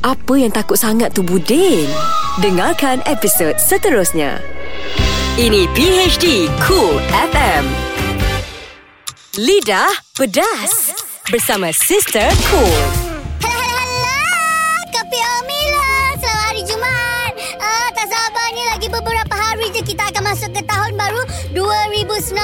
Apa yang takut sangat tu Budin? Dengarkan episod seterusnya. Ini PHD Cool FM. Lidah pedas bersama Sister Cool. Hello, hello, hello. Kopi Omila. Selamat hari Jumaat. Uh, tak sabarnya lagi beberapa hari je kita akan masuk ke tahun baru 2019.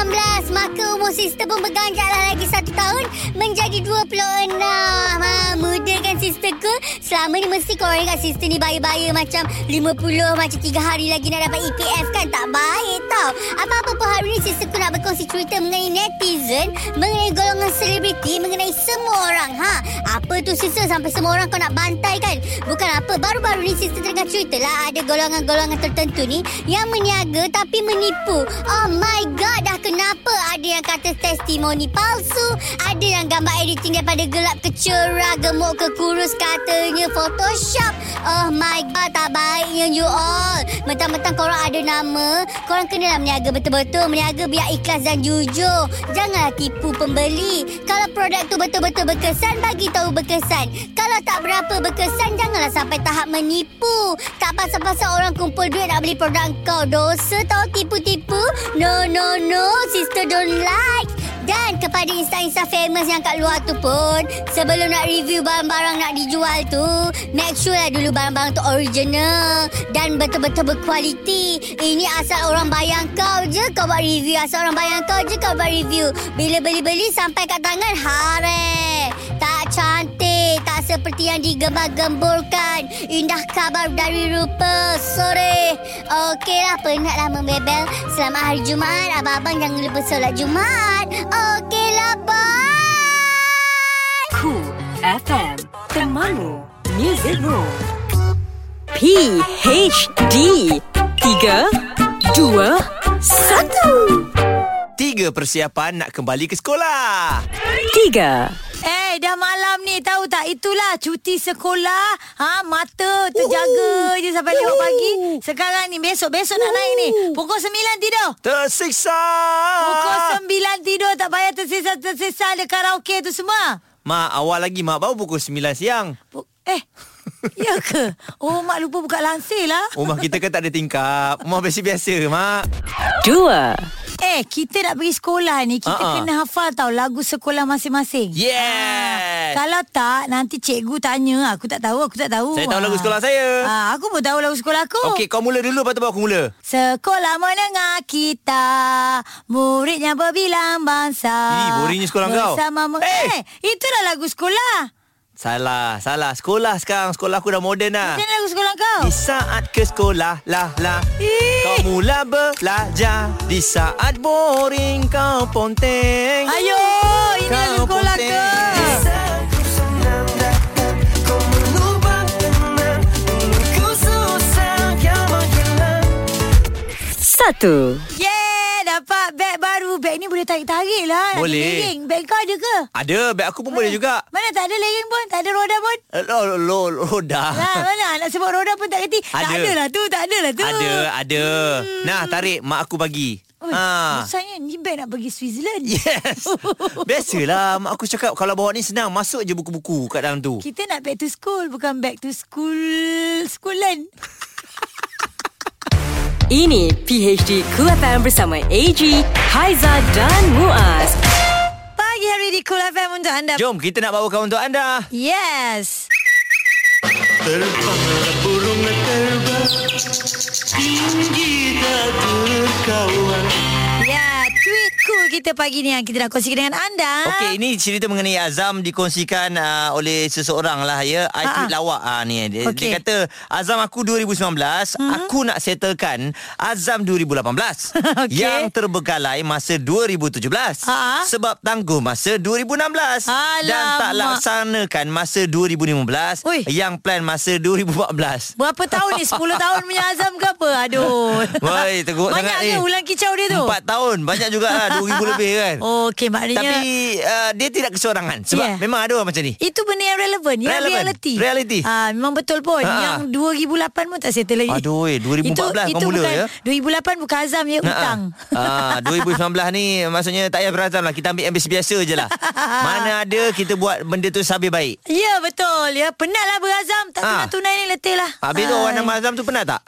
Maka umur sister pun berganjaklah lagi satu tahun menjadi 26. Ha, muda kan sister ke? Selama ni mesti korang ingat sister ni bayar-bayar macam 50 macam 3 hari lagi nak dapat EPF kan? Tak baik tau. Apa-apa pun hari ni sister ku nak berkongsi cerita mengenai netizen, mengenai golongan selebriti, mengenai semua orang. Ha, apa tu sister sampai semua orang kau nak bantai kan? Bukan apa, baru-baru ni sister tengah cerita lah ada golongan-golongan tertentu ni yang meniaga tapi menipu. Oh my god, dah kenapa ada yang kata testimoni palsu, ada yang gambar editing daripada gelap ke cerah, gemuk ke kurus katanya photoshop. Oh my god, tak baiknya you all. Mentang-mentang korang ada nama, korang kenalah meniaga betul-betul, meniaga biar ikhlas dan jujur. Janganlah tipu pembeli. Kalau produk tu betul-betul berkesan, bagi tahu berkesan. Kalau tak berapa berkesan, janganlah sampai tahap menipu. Tak pasal-pasal orang kumpul duit nak beli produk kau. Dosa tau tipu-tipu. No, no, no. Sister don't like. Dan kepada insta-insta famous yang kat luar tu pun Sebelum nak review barang-barang nak dijual tu Make sure lah dulu barang-barang tu original Dan betul-betul berkualiti Ini asal orang bayang kau je kau buat review Asal orang bayang kau je kau buat review Bila beli-beli sampai kat tangan hare Tak cantik Tak seperti yang digembar-gemburkan Indah kabar dari rupa Sore Okeylah penatlah lah membebel Selamat hari Jumaat Abang-abang jangan lupa solat Jumaat lah, Okeylah bye Cool FM. Temanmu. Music Room. PHD 3 2 1 Tiga persiapan nak kembali ke sekolah. 3 Eh dah malam ni tahu tak itulah cuti sekolah ha mata terjaga Uhuh. je sampai 5 pagi sekarang ni besok-besok nak naik ni Uhuh. pukul 9 tidur Tersiksa. pukul 9 tidur tak payah tersisa-tersisa ada karaoke tu semua Mak, awal lagi mak baru pukul 9 siang. Pu- eh ya ke oh mak lupa buka lansir lah Rumah kita kan tak ada tingkap. Rumah biasa-biasa, mak. 2 eh kita nak pergi sekolah ni kita uh-uh. Ha-ha. kena hafal tau lagu sekolah masing-masing Ah, Yes. Kalau tak nanti cikgu tanya aku tak tahu aku tak tahu. Saya tahu lagu Ah. sekolah saya. Ah aku pun tahu lagu sekolah aku. Okey, kau mula dulu lepas tu baru aku mula. Sekolah menengah kita Muridnya berbilang bangsa Ih, boringnya sekolah kau. Bersama meng- Eh! eh. itulah lagu sekolah Salah, salah. Sekolah sekarang. Sekolah aku dah moden dah. Ini lagu sekolah kau Ah. Di saat ke sekolah lah lah Ih. Kau mula belajar Di saat boring kau ponteng Ayo Ini Kau lagu sekolah ponteng. kau Satu. Yeah Dapat beg baru Beg ni boleh tarik-tarik lah Ada Boleh. layering. Beg kau ada ke? Ada, beg aku pun boleh juga Mana tak ada layering pun Tak ada roda pun Eh, Lo, lo, lo Lah, dah mana nak sebut roda pun tak kerti Tak Ada. ada lah tu Tak ada lah tu Hmm. Ada, ada Nah, tarik mak aku bagi Oi, Ha. Rasanya ni beg nak pergi Switzerland Oh, Yes Biasalah Mak aku cakap Kalau bawa ni senang Masuk je buku-buku Kat dalam tu Kita nak back to school Bukan back to school Schoolan Ini PHD Cool FM bersama AG, Haiza dan Muaz. Pagi hari di Cool FM untuk anda Jom kita nak bawakan untuk anda Yes Terbang burung terbang Tinggi tak terkawan Ya, tweet cool kita pagi ni yang kita nak kongsikan dengan anda. Okey, ini cerita mengenai Azam dikongsikan uh, oleh seseorang lah ya. I tweet lawak uh, ni. Okey. Hmm. Dia, okay. dia kata, Azam aku 2019, mm-hmm. aku nak settlekan Azam 2018. Okey. Yang terbekalai masa 2017. Ah. Sebab tangguh masa 2016. Dan tak Alamak. laksanakan masa 2015. Ui. Yang plan masa 2014. Berapa tahun ni? 10 tahun punya azam ke apa? Aduh. Woi, teruk Banyak sangat ke eh. ulang kicau dia tu? 4 tahun. Banyak juga lah. 2000 lebih kan. Oh, Okey, maknanya Ya. Tapi uh, dia tidak kesorangan Sebab Yeah. yeah. memang ada orang macam ni itu benda yang relevan Yang Relevan. reality Reality. Ah, Memang betul pun Ha-ha. Yang 2008 pun tak settle lagi Aduh, eh, 2014 kau itu mula, bukan, ya? Ha, 2008 bukan azam ya Utang Ah, 2019 ni maksudnya tak payah berazam lah. Kita ambil yang biasa-biasa je lah. Ah. Mana ada kita buat benda tu sabir baik. Ya betul ya Penatlah berazam Tak Ah. tunai-tunai ni letih lah Habis tu Ah. orang nama azam tu pernah tak?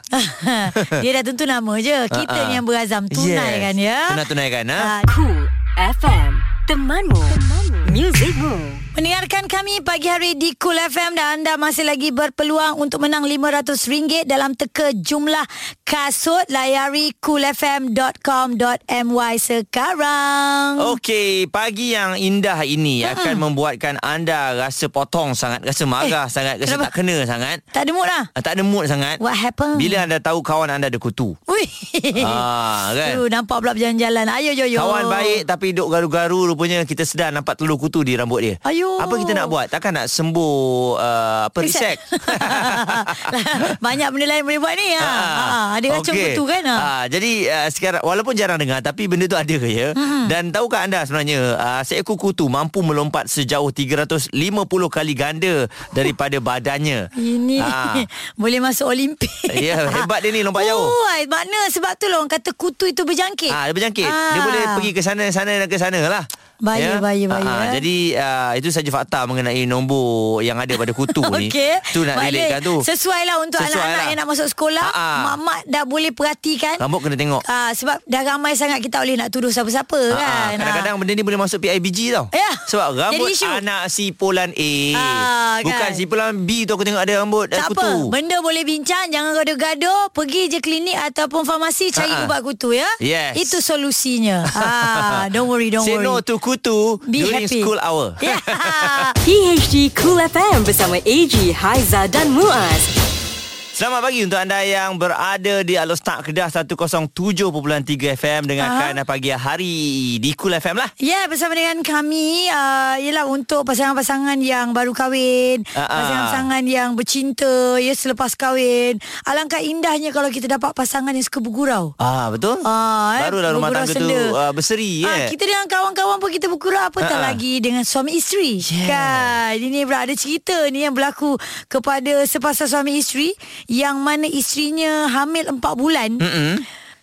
Dia dah tentu nama je Kita Ah, ah. ni yang berazam Tunaikan yes. ya Tunai tunaikan ha? Ah, Cool FM Temanmu, Temanmu. Musicmu Mendengarkan kami pagi hari di Cool FM dan anda masih lagi berpeluang untuk menang RM500 dalam teka jumlah kasut layari coolfm.com.my sekarang. Okey, pagi yang indah ini akan membuatkan anda rasa potong sangat, rasa marah Eh, sangat, rasa kenapa? tak kena sangat. Tak ada mood lah. ah, Tak ada mood sangat. What happened? Bila anda tahu kawan anda ada kutu. Ui. Ah, kan? Tu nampak pula berjalan-jalan. Ayo yo yo. Kawan baik tapi duk garu-garu rupanya kita sedar nampak telur kutu di rambut dia. Ayuh. Apa kita nak buat? Takkan nak sembuh uh, apa Reset. reset. Banyak benda lain boleh buat ni ha. ha. Ada kacang okay. kutu kan ha. Ah, jadi uh, sekarang walaupun jarang dengar tapi benda tu ada ke ya. Hmm. Dan tahukah anda sebenarnya uh, seekor kutu mampu melompat sejauh 350 kali ganda daripada badannya. Ini Ah. boleh masuk Olimpik. Ya, hebat dia ni lompat jauh. Oh, ai, makna sebab tu lah orang kata kutu itu berjangkit. Ah, dia berjangkit. Ah. Dia Ah. boleh pergi ke sana sana dan ke sana lah. Bahaya, bahaya, bahaya. Ah, ah. jadi ah, itu saja fakta mengenai nombor yang ada pada kutu ni. Okey. Tu nak Maknanya relatekan tu. Sesuai lah untuk Sesuai anak-anak lah. yang nak masuk sekolah. Ha, ha. Mak-mak dah boleh perhatikan. Rambut kena tengok. Ah, sebab dah ramai sangat kita boleh nak tuduh siapa-siapa Ah, ah. kan. Kadang-kadang benda ni boleh masuk PIBG tau Ya. Sebab Jadi rambut isu. anak sipulan A Ah, kan. Bukan sipulan B tu aku tengok ada rambut tak eh, kutu apa, benda boleh bincang, jangan gaduh-gaduh, pergi je klinik ataupun farmasi cari Ha, ha. ubat kutu ya. Yes. Itu solusinya. ah, don't worry, don't Say worry. no to kutu Be During happy. school hour Yeah. PHD Cool FM bersama AG, Haiza dan Muaz Selamat pagi untuk anda yang berada di Alor Start Kedah 107.3 FM Dengarkan pagi hari di Cool FM lah Ya, yeah, bersama dengan kami uh, Ialah untuk pasangan-pasangan yang baru kahwin Ah, ah. Pasangan-pasangan yang bercinta Ya, selepas kahwin Alangkah indahnya kalau kita dapat pasangan yang suka bergurau Ah betul. Ah, eh, Barulah rumah bergurau tangga tu senda. uh, berseri Ah, eh. kita dengan kawan-kawan pun kita bergurau Apatah Ah, ah. lagi dengan suami isteri yeah. Kan Ini pula ada cerita ni yang berlaku Kepada sepasang suami isteri Yang mana isterinya hamil 4 bulan Mm-mm.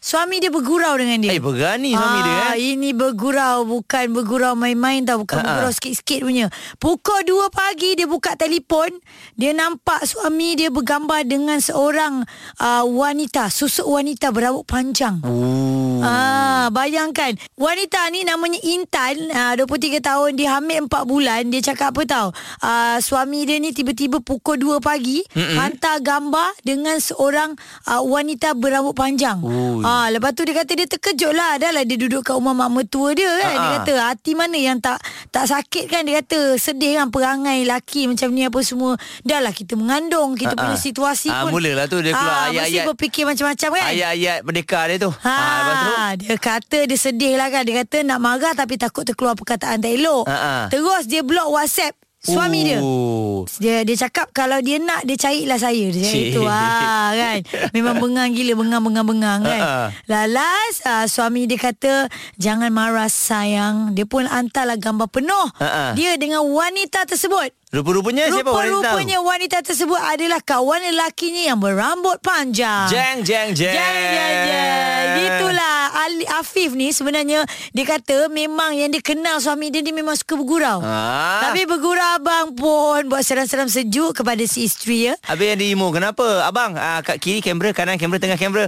Suami dia bergurau dengan dia Eh berani suami dia Ah, eh. Ini bergurau Bukan bergurau main-main tau Bukan Ha-ha. bergurau sikit-sikit punya Pukul 2 pagi Dia buka telefon Dia nampak suami dia bergambar Dengan seorang uh, wanita Susuk wanita berawak panjang Ooh. Ah, bayangkan wanita ni namanya Intan, ah, 23 tahun, dia hamil 4 bulan. Dia cakap apa tahu? Ah, suami dia ni tiba-tiba pukul 2 pagi Mm-mm. hantar gambar dengan seorang ah, wanita berambut panjang. Ui. Ah, lepas tu dia kata dia terkejut lah. Dah lah dia duduk kat rumah mak mertua dia kan. Dia Ah-ah. kata hati mana yang tak tak sakit kan dia kata sedih kan perangai laki macam ni apa semua. Dah lah kita mengandung, kita Ah-ah. punya situasi Ah, pun. mulalah tu dia keluar Ah, mesti ayat-ayat. berfikir macam-macam kan. Ayat-ayat berdeka dia tu. Ha, Ah, lepas tu. dia kata dia sedih lah kan. Dia kata nak marah tapi takut terkeluar perkataan tak elok. Ha, Oh. ha. Terus dia block WhatsApp suami dia. Ooh. Dia dia cakap kalau dia nak dia carilah saya. Dia cakap Cik. itu ha, kan. Memang bengang gila bengang bengang bengang kan. Ha, ha. Lalas ah, suami dia kata jangan marah sayang. Dia pun hantarlah gambar penuh Ha, ha. dia dengan wanita tersebut. Rupa-rupanya siapa wanita tu? Rupa-rupanya wanita tersebut adalah kawan lelakinya yang berambut panjang. Jeng jeng jeng. Jeng jeng jeng Gitulah Ali Afif ni sebenarnya Dia kata memang yang dia kenal suami dia Dia memang suka bergurau Ah. Tapi bergurau abang pun Buat seram-seram sejuk kepada si isteri ya Habis yang diimu Kenapa Abang ah, Kat kiri kamera Kanan kamera Tengah kamera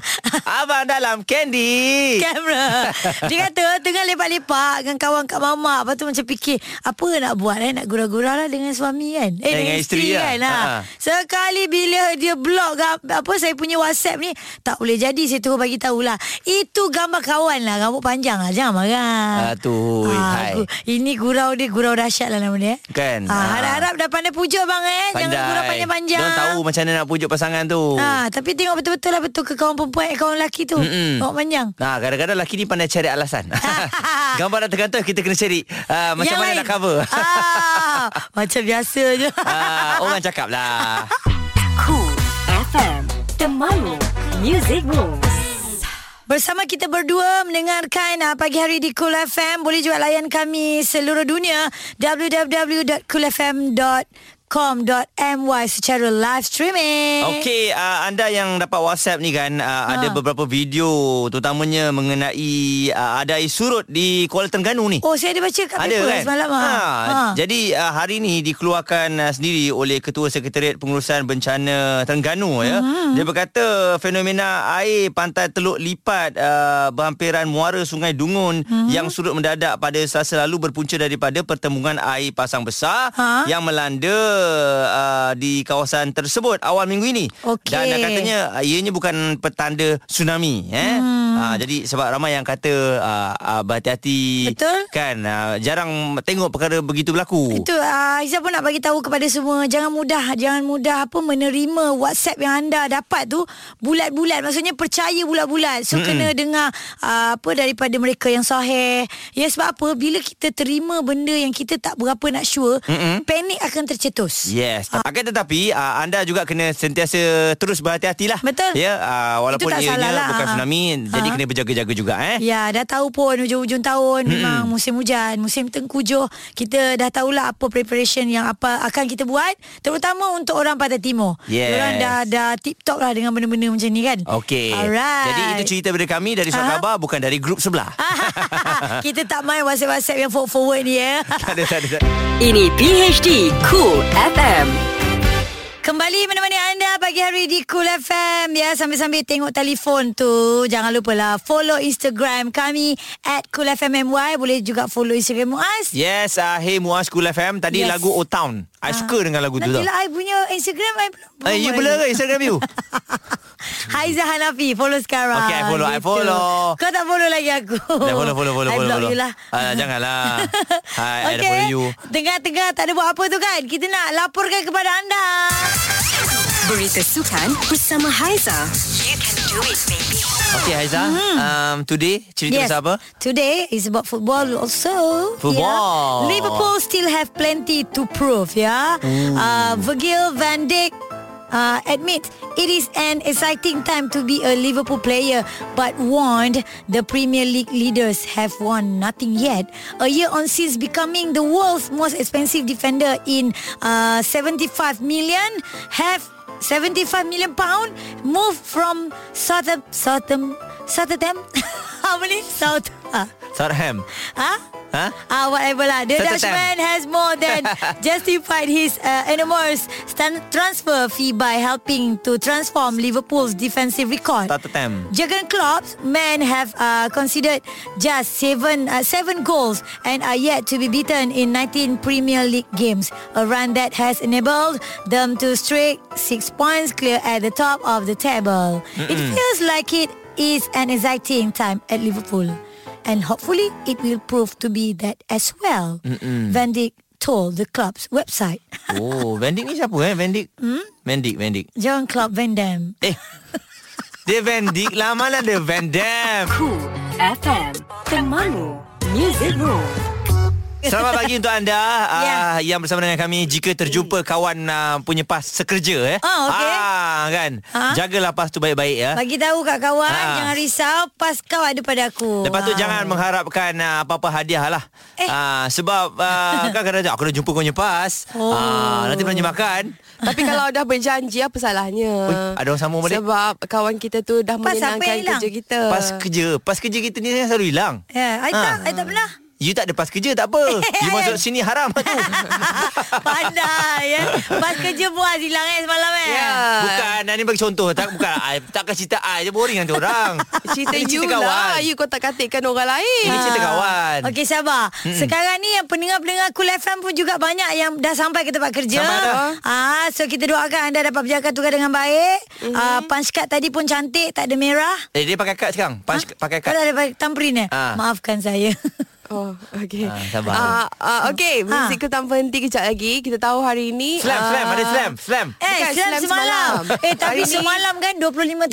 Abang dalam candy Kamera Dia kata tengah lepak-lepak Dengan kawan kat mamak Lepas tu macam fikir Apa nak buat eh Nak gurau-gurau lah dengan suami kan Eh dengan, isteri, isteri lah. kan ha. Ha. Sekali bila dia block gam- Apa saya punya whatsapp ni Tak boleh jadi Saya terus bagi tahulah Itu gambar kawan lah Rambut panjang lah Jangan marah Ah, tu, hai. gu- Ini gurau dia Gurau dahsyat lah nama dia Kan? ah, Ah. Harap-harap dah pandai pujuk bang eh Jangan gurau panjang-panjang Diorang tahu macam mana nak pujuk pasangan tu. Ah, tapi tengok betul-betul lah betul ke kawan perempuan eh, kawan lelaki tu. Mm-mm. Tengok panjang. Ha. Nah, kadang-kadang lelaki ni pandai cari alasan. Gambar dah tergantung kita kena cari. Ah, macam Yang mana lain. nak cover. ah, macam biasa je. Ah, orang cakap lah. Cool FM Temanmu Music Rules Bersama kita berdua mendengarkan uh, pagi hari di Cool FM. Boleh juga layan kami seluruh dunia www.coolfm.com.my secara live streaming. Okey, uh, anda yang dapat WhatsApp ni kan uh, Ha. ada beberapa video terutamanya mengenai uh, adai surut di Kuala Terengganu ni. Oh, saya ada baca kat ada paper kan? semalam. ah. Ah. Jadi uh, hari ni dikeluarkan uh, sendiri oleh Ketua Sekretariat Pengurusan Bencana Terengganu ya. Ah. Dia berkata fenomena air pantai Teluk Lipat uh, berhampiran muara Sungai Dungun Hmm. yang surut mendadak pada Selasa lalu berpunca daripada pertemuan air pasang besar Ha? yang melanda uh, di kawasan tersebut awal minggu ini. Okey. Dan dia katanya uh, ianya bukan petanda tsunami eh. Hmm. Uh, jadi sebab ramai yang kata uh, uh, berhati-hati Betul. Kan uh, jarang tengok perkara begitu berlaku. Itu uh, Aiza pun nak bagi tahu kepada semua jangan mudah jangan mudah apa menerima WhatsApp yang anda dapat tu bulat-bulat maksudnya percaya bulat-bulat. So mm kena dengar uh, apa daripada mereka yang sahih. Ya sebab apa bila kita terima benda yang kita tak berapa nak sure, mm panik akan tercetus. Yes. Ha. Akan tetapi uh, anda juga kena sentiasa terus berhati-hatilah. Betul. Ya, uh, walaupun Itu tak ianya salah lah. bukan Ha. tsunami jadi Ha. kena berjaga-jaga juga eh. Ya, dah tahu pun hujung-hujung tahun mm memang musim hujan, musim tengkujuh. Kita dah tahulah apa preparation yang apa akan kita buat, terutama untuk orang Pantai Timur. Yes. Orang dah dah tip-top lah dengan benda-benda macam ni kan. Okey. Alright. Jadi itu cerita dari kami dari Aha. Surat Khabar bukan dari grup sebelah. Ha? kita tak main WhatsApp-WhatsApp yang forward-forward ni ya. tak ada tak ada. tak ada. Ini PHD Cool FM Kembali menemani anda pagi hari di Cool FM. Ya, sambil-sambil tengok telefon tu. Jangan lupa lah follow Instagram kami at Cool FM MY. Boleh juga follow Instagram Muaz. Yes, uh, hey Muaz Cool FM tadi Yes. Ah. lagu O Town. I suka dengan lagu tu. tau. Nantilah lah I punya Instagram I belum Eh, you boleh ke Instagram you? Haiza Hanafi Follow sekarang Okay, I follow, I follow. Kau tak follow lagi aku Dah follow follow follow Oh. I follow. block follow. you lah Ah, janganlah. Hai, okay. I dah follow you. Tengah-tengah tak ada buat apa tu kan Kita nak laporkan kepada anda Berita sukan bersama Haiza You can do it baby Okay Haiza, Hmm. um, today cerita yes. pasal apa? Today is about football also Football. yeah. Liverpool still have plenty to prove yeah. Uh, Virgil van Dijk uh, admits it is an exciting time to be a Liverpool player but warned the Premier League leaders have won nothing yet. A year on since becoming the world's most expensive defender in uh, 75 million have 75 million pound move from Southam Southam Southam how many South ah Southampton. huh? Ha? Ah, whatever lah. The Satu Dutchman has more than justified his uh, enormous stan- transfer fee by helping to transform Liverpool's defensive record. Satu time. Jurgen Klopp's men have uh, considered just seven uh, seven goals and are yet to be beaten in 19 Premier League games. A run that has enabled them to streak six points clear at the top of the table. It feels like it is an exciting time at Liverpool, and hopefully it will prove to be that as well. Van Dijk told the club's website. Oh, Vendik ni siapa eh? Vendik? Hmm? Vendik, Vendik. John Klopp Van Dam. Eh. Dia Vendik lah mana dia Van Dam. Cool FM Temanmu Music Rules Selamat pagi untuk anda Ya. yeah. uh, yang bersama dengan kami jika terjumpa kawan uh, punya pas sekerja eh. Ah, okey. Ah kan. Ah. Jagalah pas tu baik-baik ya. Bagi tahu kat kawan Ah. Jangan risau Pas kau ada pada aku Lepas tu Ah. jangan mengharapkan uh, apa-apa hadiah lah. Eh. Uh, sebab uh, kan kadang-kadang aku dah jumpa kau punya pas. Oh. Uh, nanti belanja makan. Tapi kalau dah berjanji apa salahnya? Ui, ada orang sambung balik. Sebab kawan kita tu dah Pas apa yang menyenangkan hilang? kerja kita. Pas kerja. Pas kerja kita ni selalu hilang. Ya, yeah, I Ah. tak, I tak pernah. You tak ada pas kerja tak apa You masuk sini haram lah tu Pandai ya. Pas kerja buat hilang eh semalam eh. Ya. Bukan Ini bagi contoh tak, Bukan I, Takkan cerita I je boring nanti orang Cerita Ini you cerita kawan lah You kotak-katikkan orang lain Ini cerita kawan Ah. Hmm. Okey sabar. Mm-mm. Mm-mm. Sekarang ni yang pendengar-pendengar Cool FM pun juga banyak yang dah sampai ke tempat kerja. Sama ada. Ah, so kita doakan anda dapat berjaga tugas dengan baik. Mm-hmm. Mhm. Ah, punch card tadi pun cantik, tak ada merah. Eh dia pakai kad sekarang Punch, Pakai kad Kau dah ada tamperin eh? Ah. Maafkan saya. Oh, okey. Ah, sabar. Ah, ah, okey, muzik ha. tanpa henti kejap lagi. Kita tahu hari ini Slam ah, slam Ada slam Slam Eh, Bukan, slam, slam semalam. semalam. Eh, tapi Hari ni- semalam kan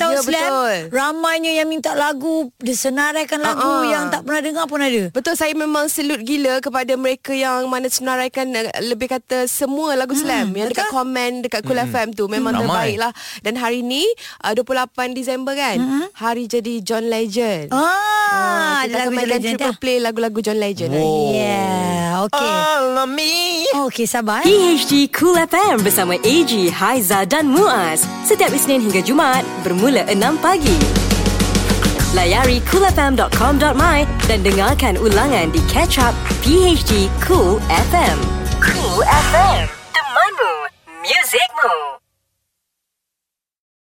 25 tahun Ya, slam. betul. Ramainya yang minta lagu, dia senaraikan lagu Ah, ah. yang tak pernah dengar pun ada. Betul saya memang selut gila kepada mereka yang mana senaraikan eh, lebih kata semua Hmm, lagu slam yang dekat komen dekat Cool FM tu memang Ramai. terbaik lah. Dan hari ni ah, 28 Disember kan hari jadi John Legend. Hmm. Ah, Ah, ada kita akan lagu mainkan legend triple dah. play lagu-lagu John Legend hari ni. Yeah, okay. All of me Okay, sabar. eh. PHD Cool FM bersama AG, Haiza dan Muaz. Setiap Isnin hingga Jumaat bermula 6 pagi. Layari coolfm.com.my dan dengarkan ulangan di Catch Up PHD Cool FM. Cool FM, temanmu, muzikmu.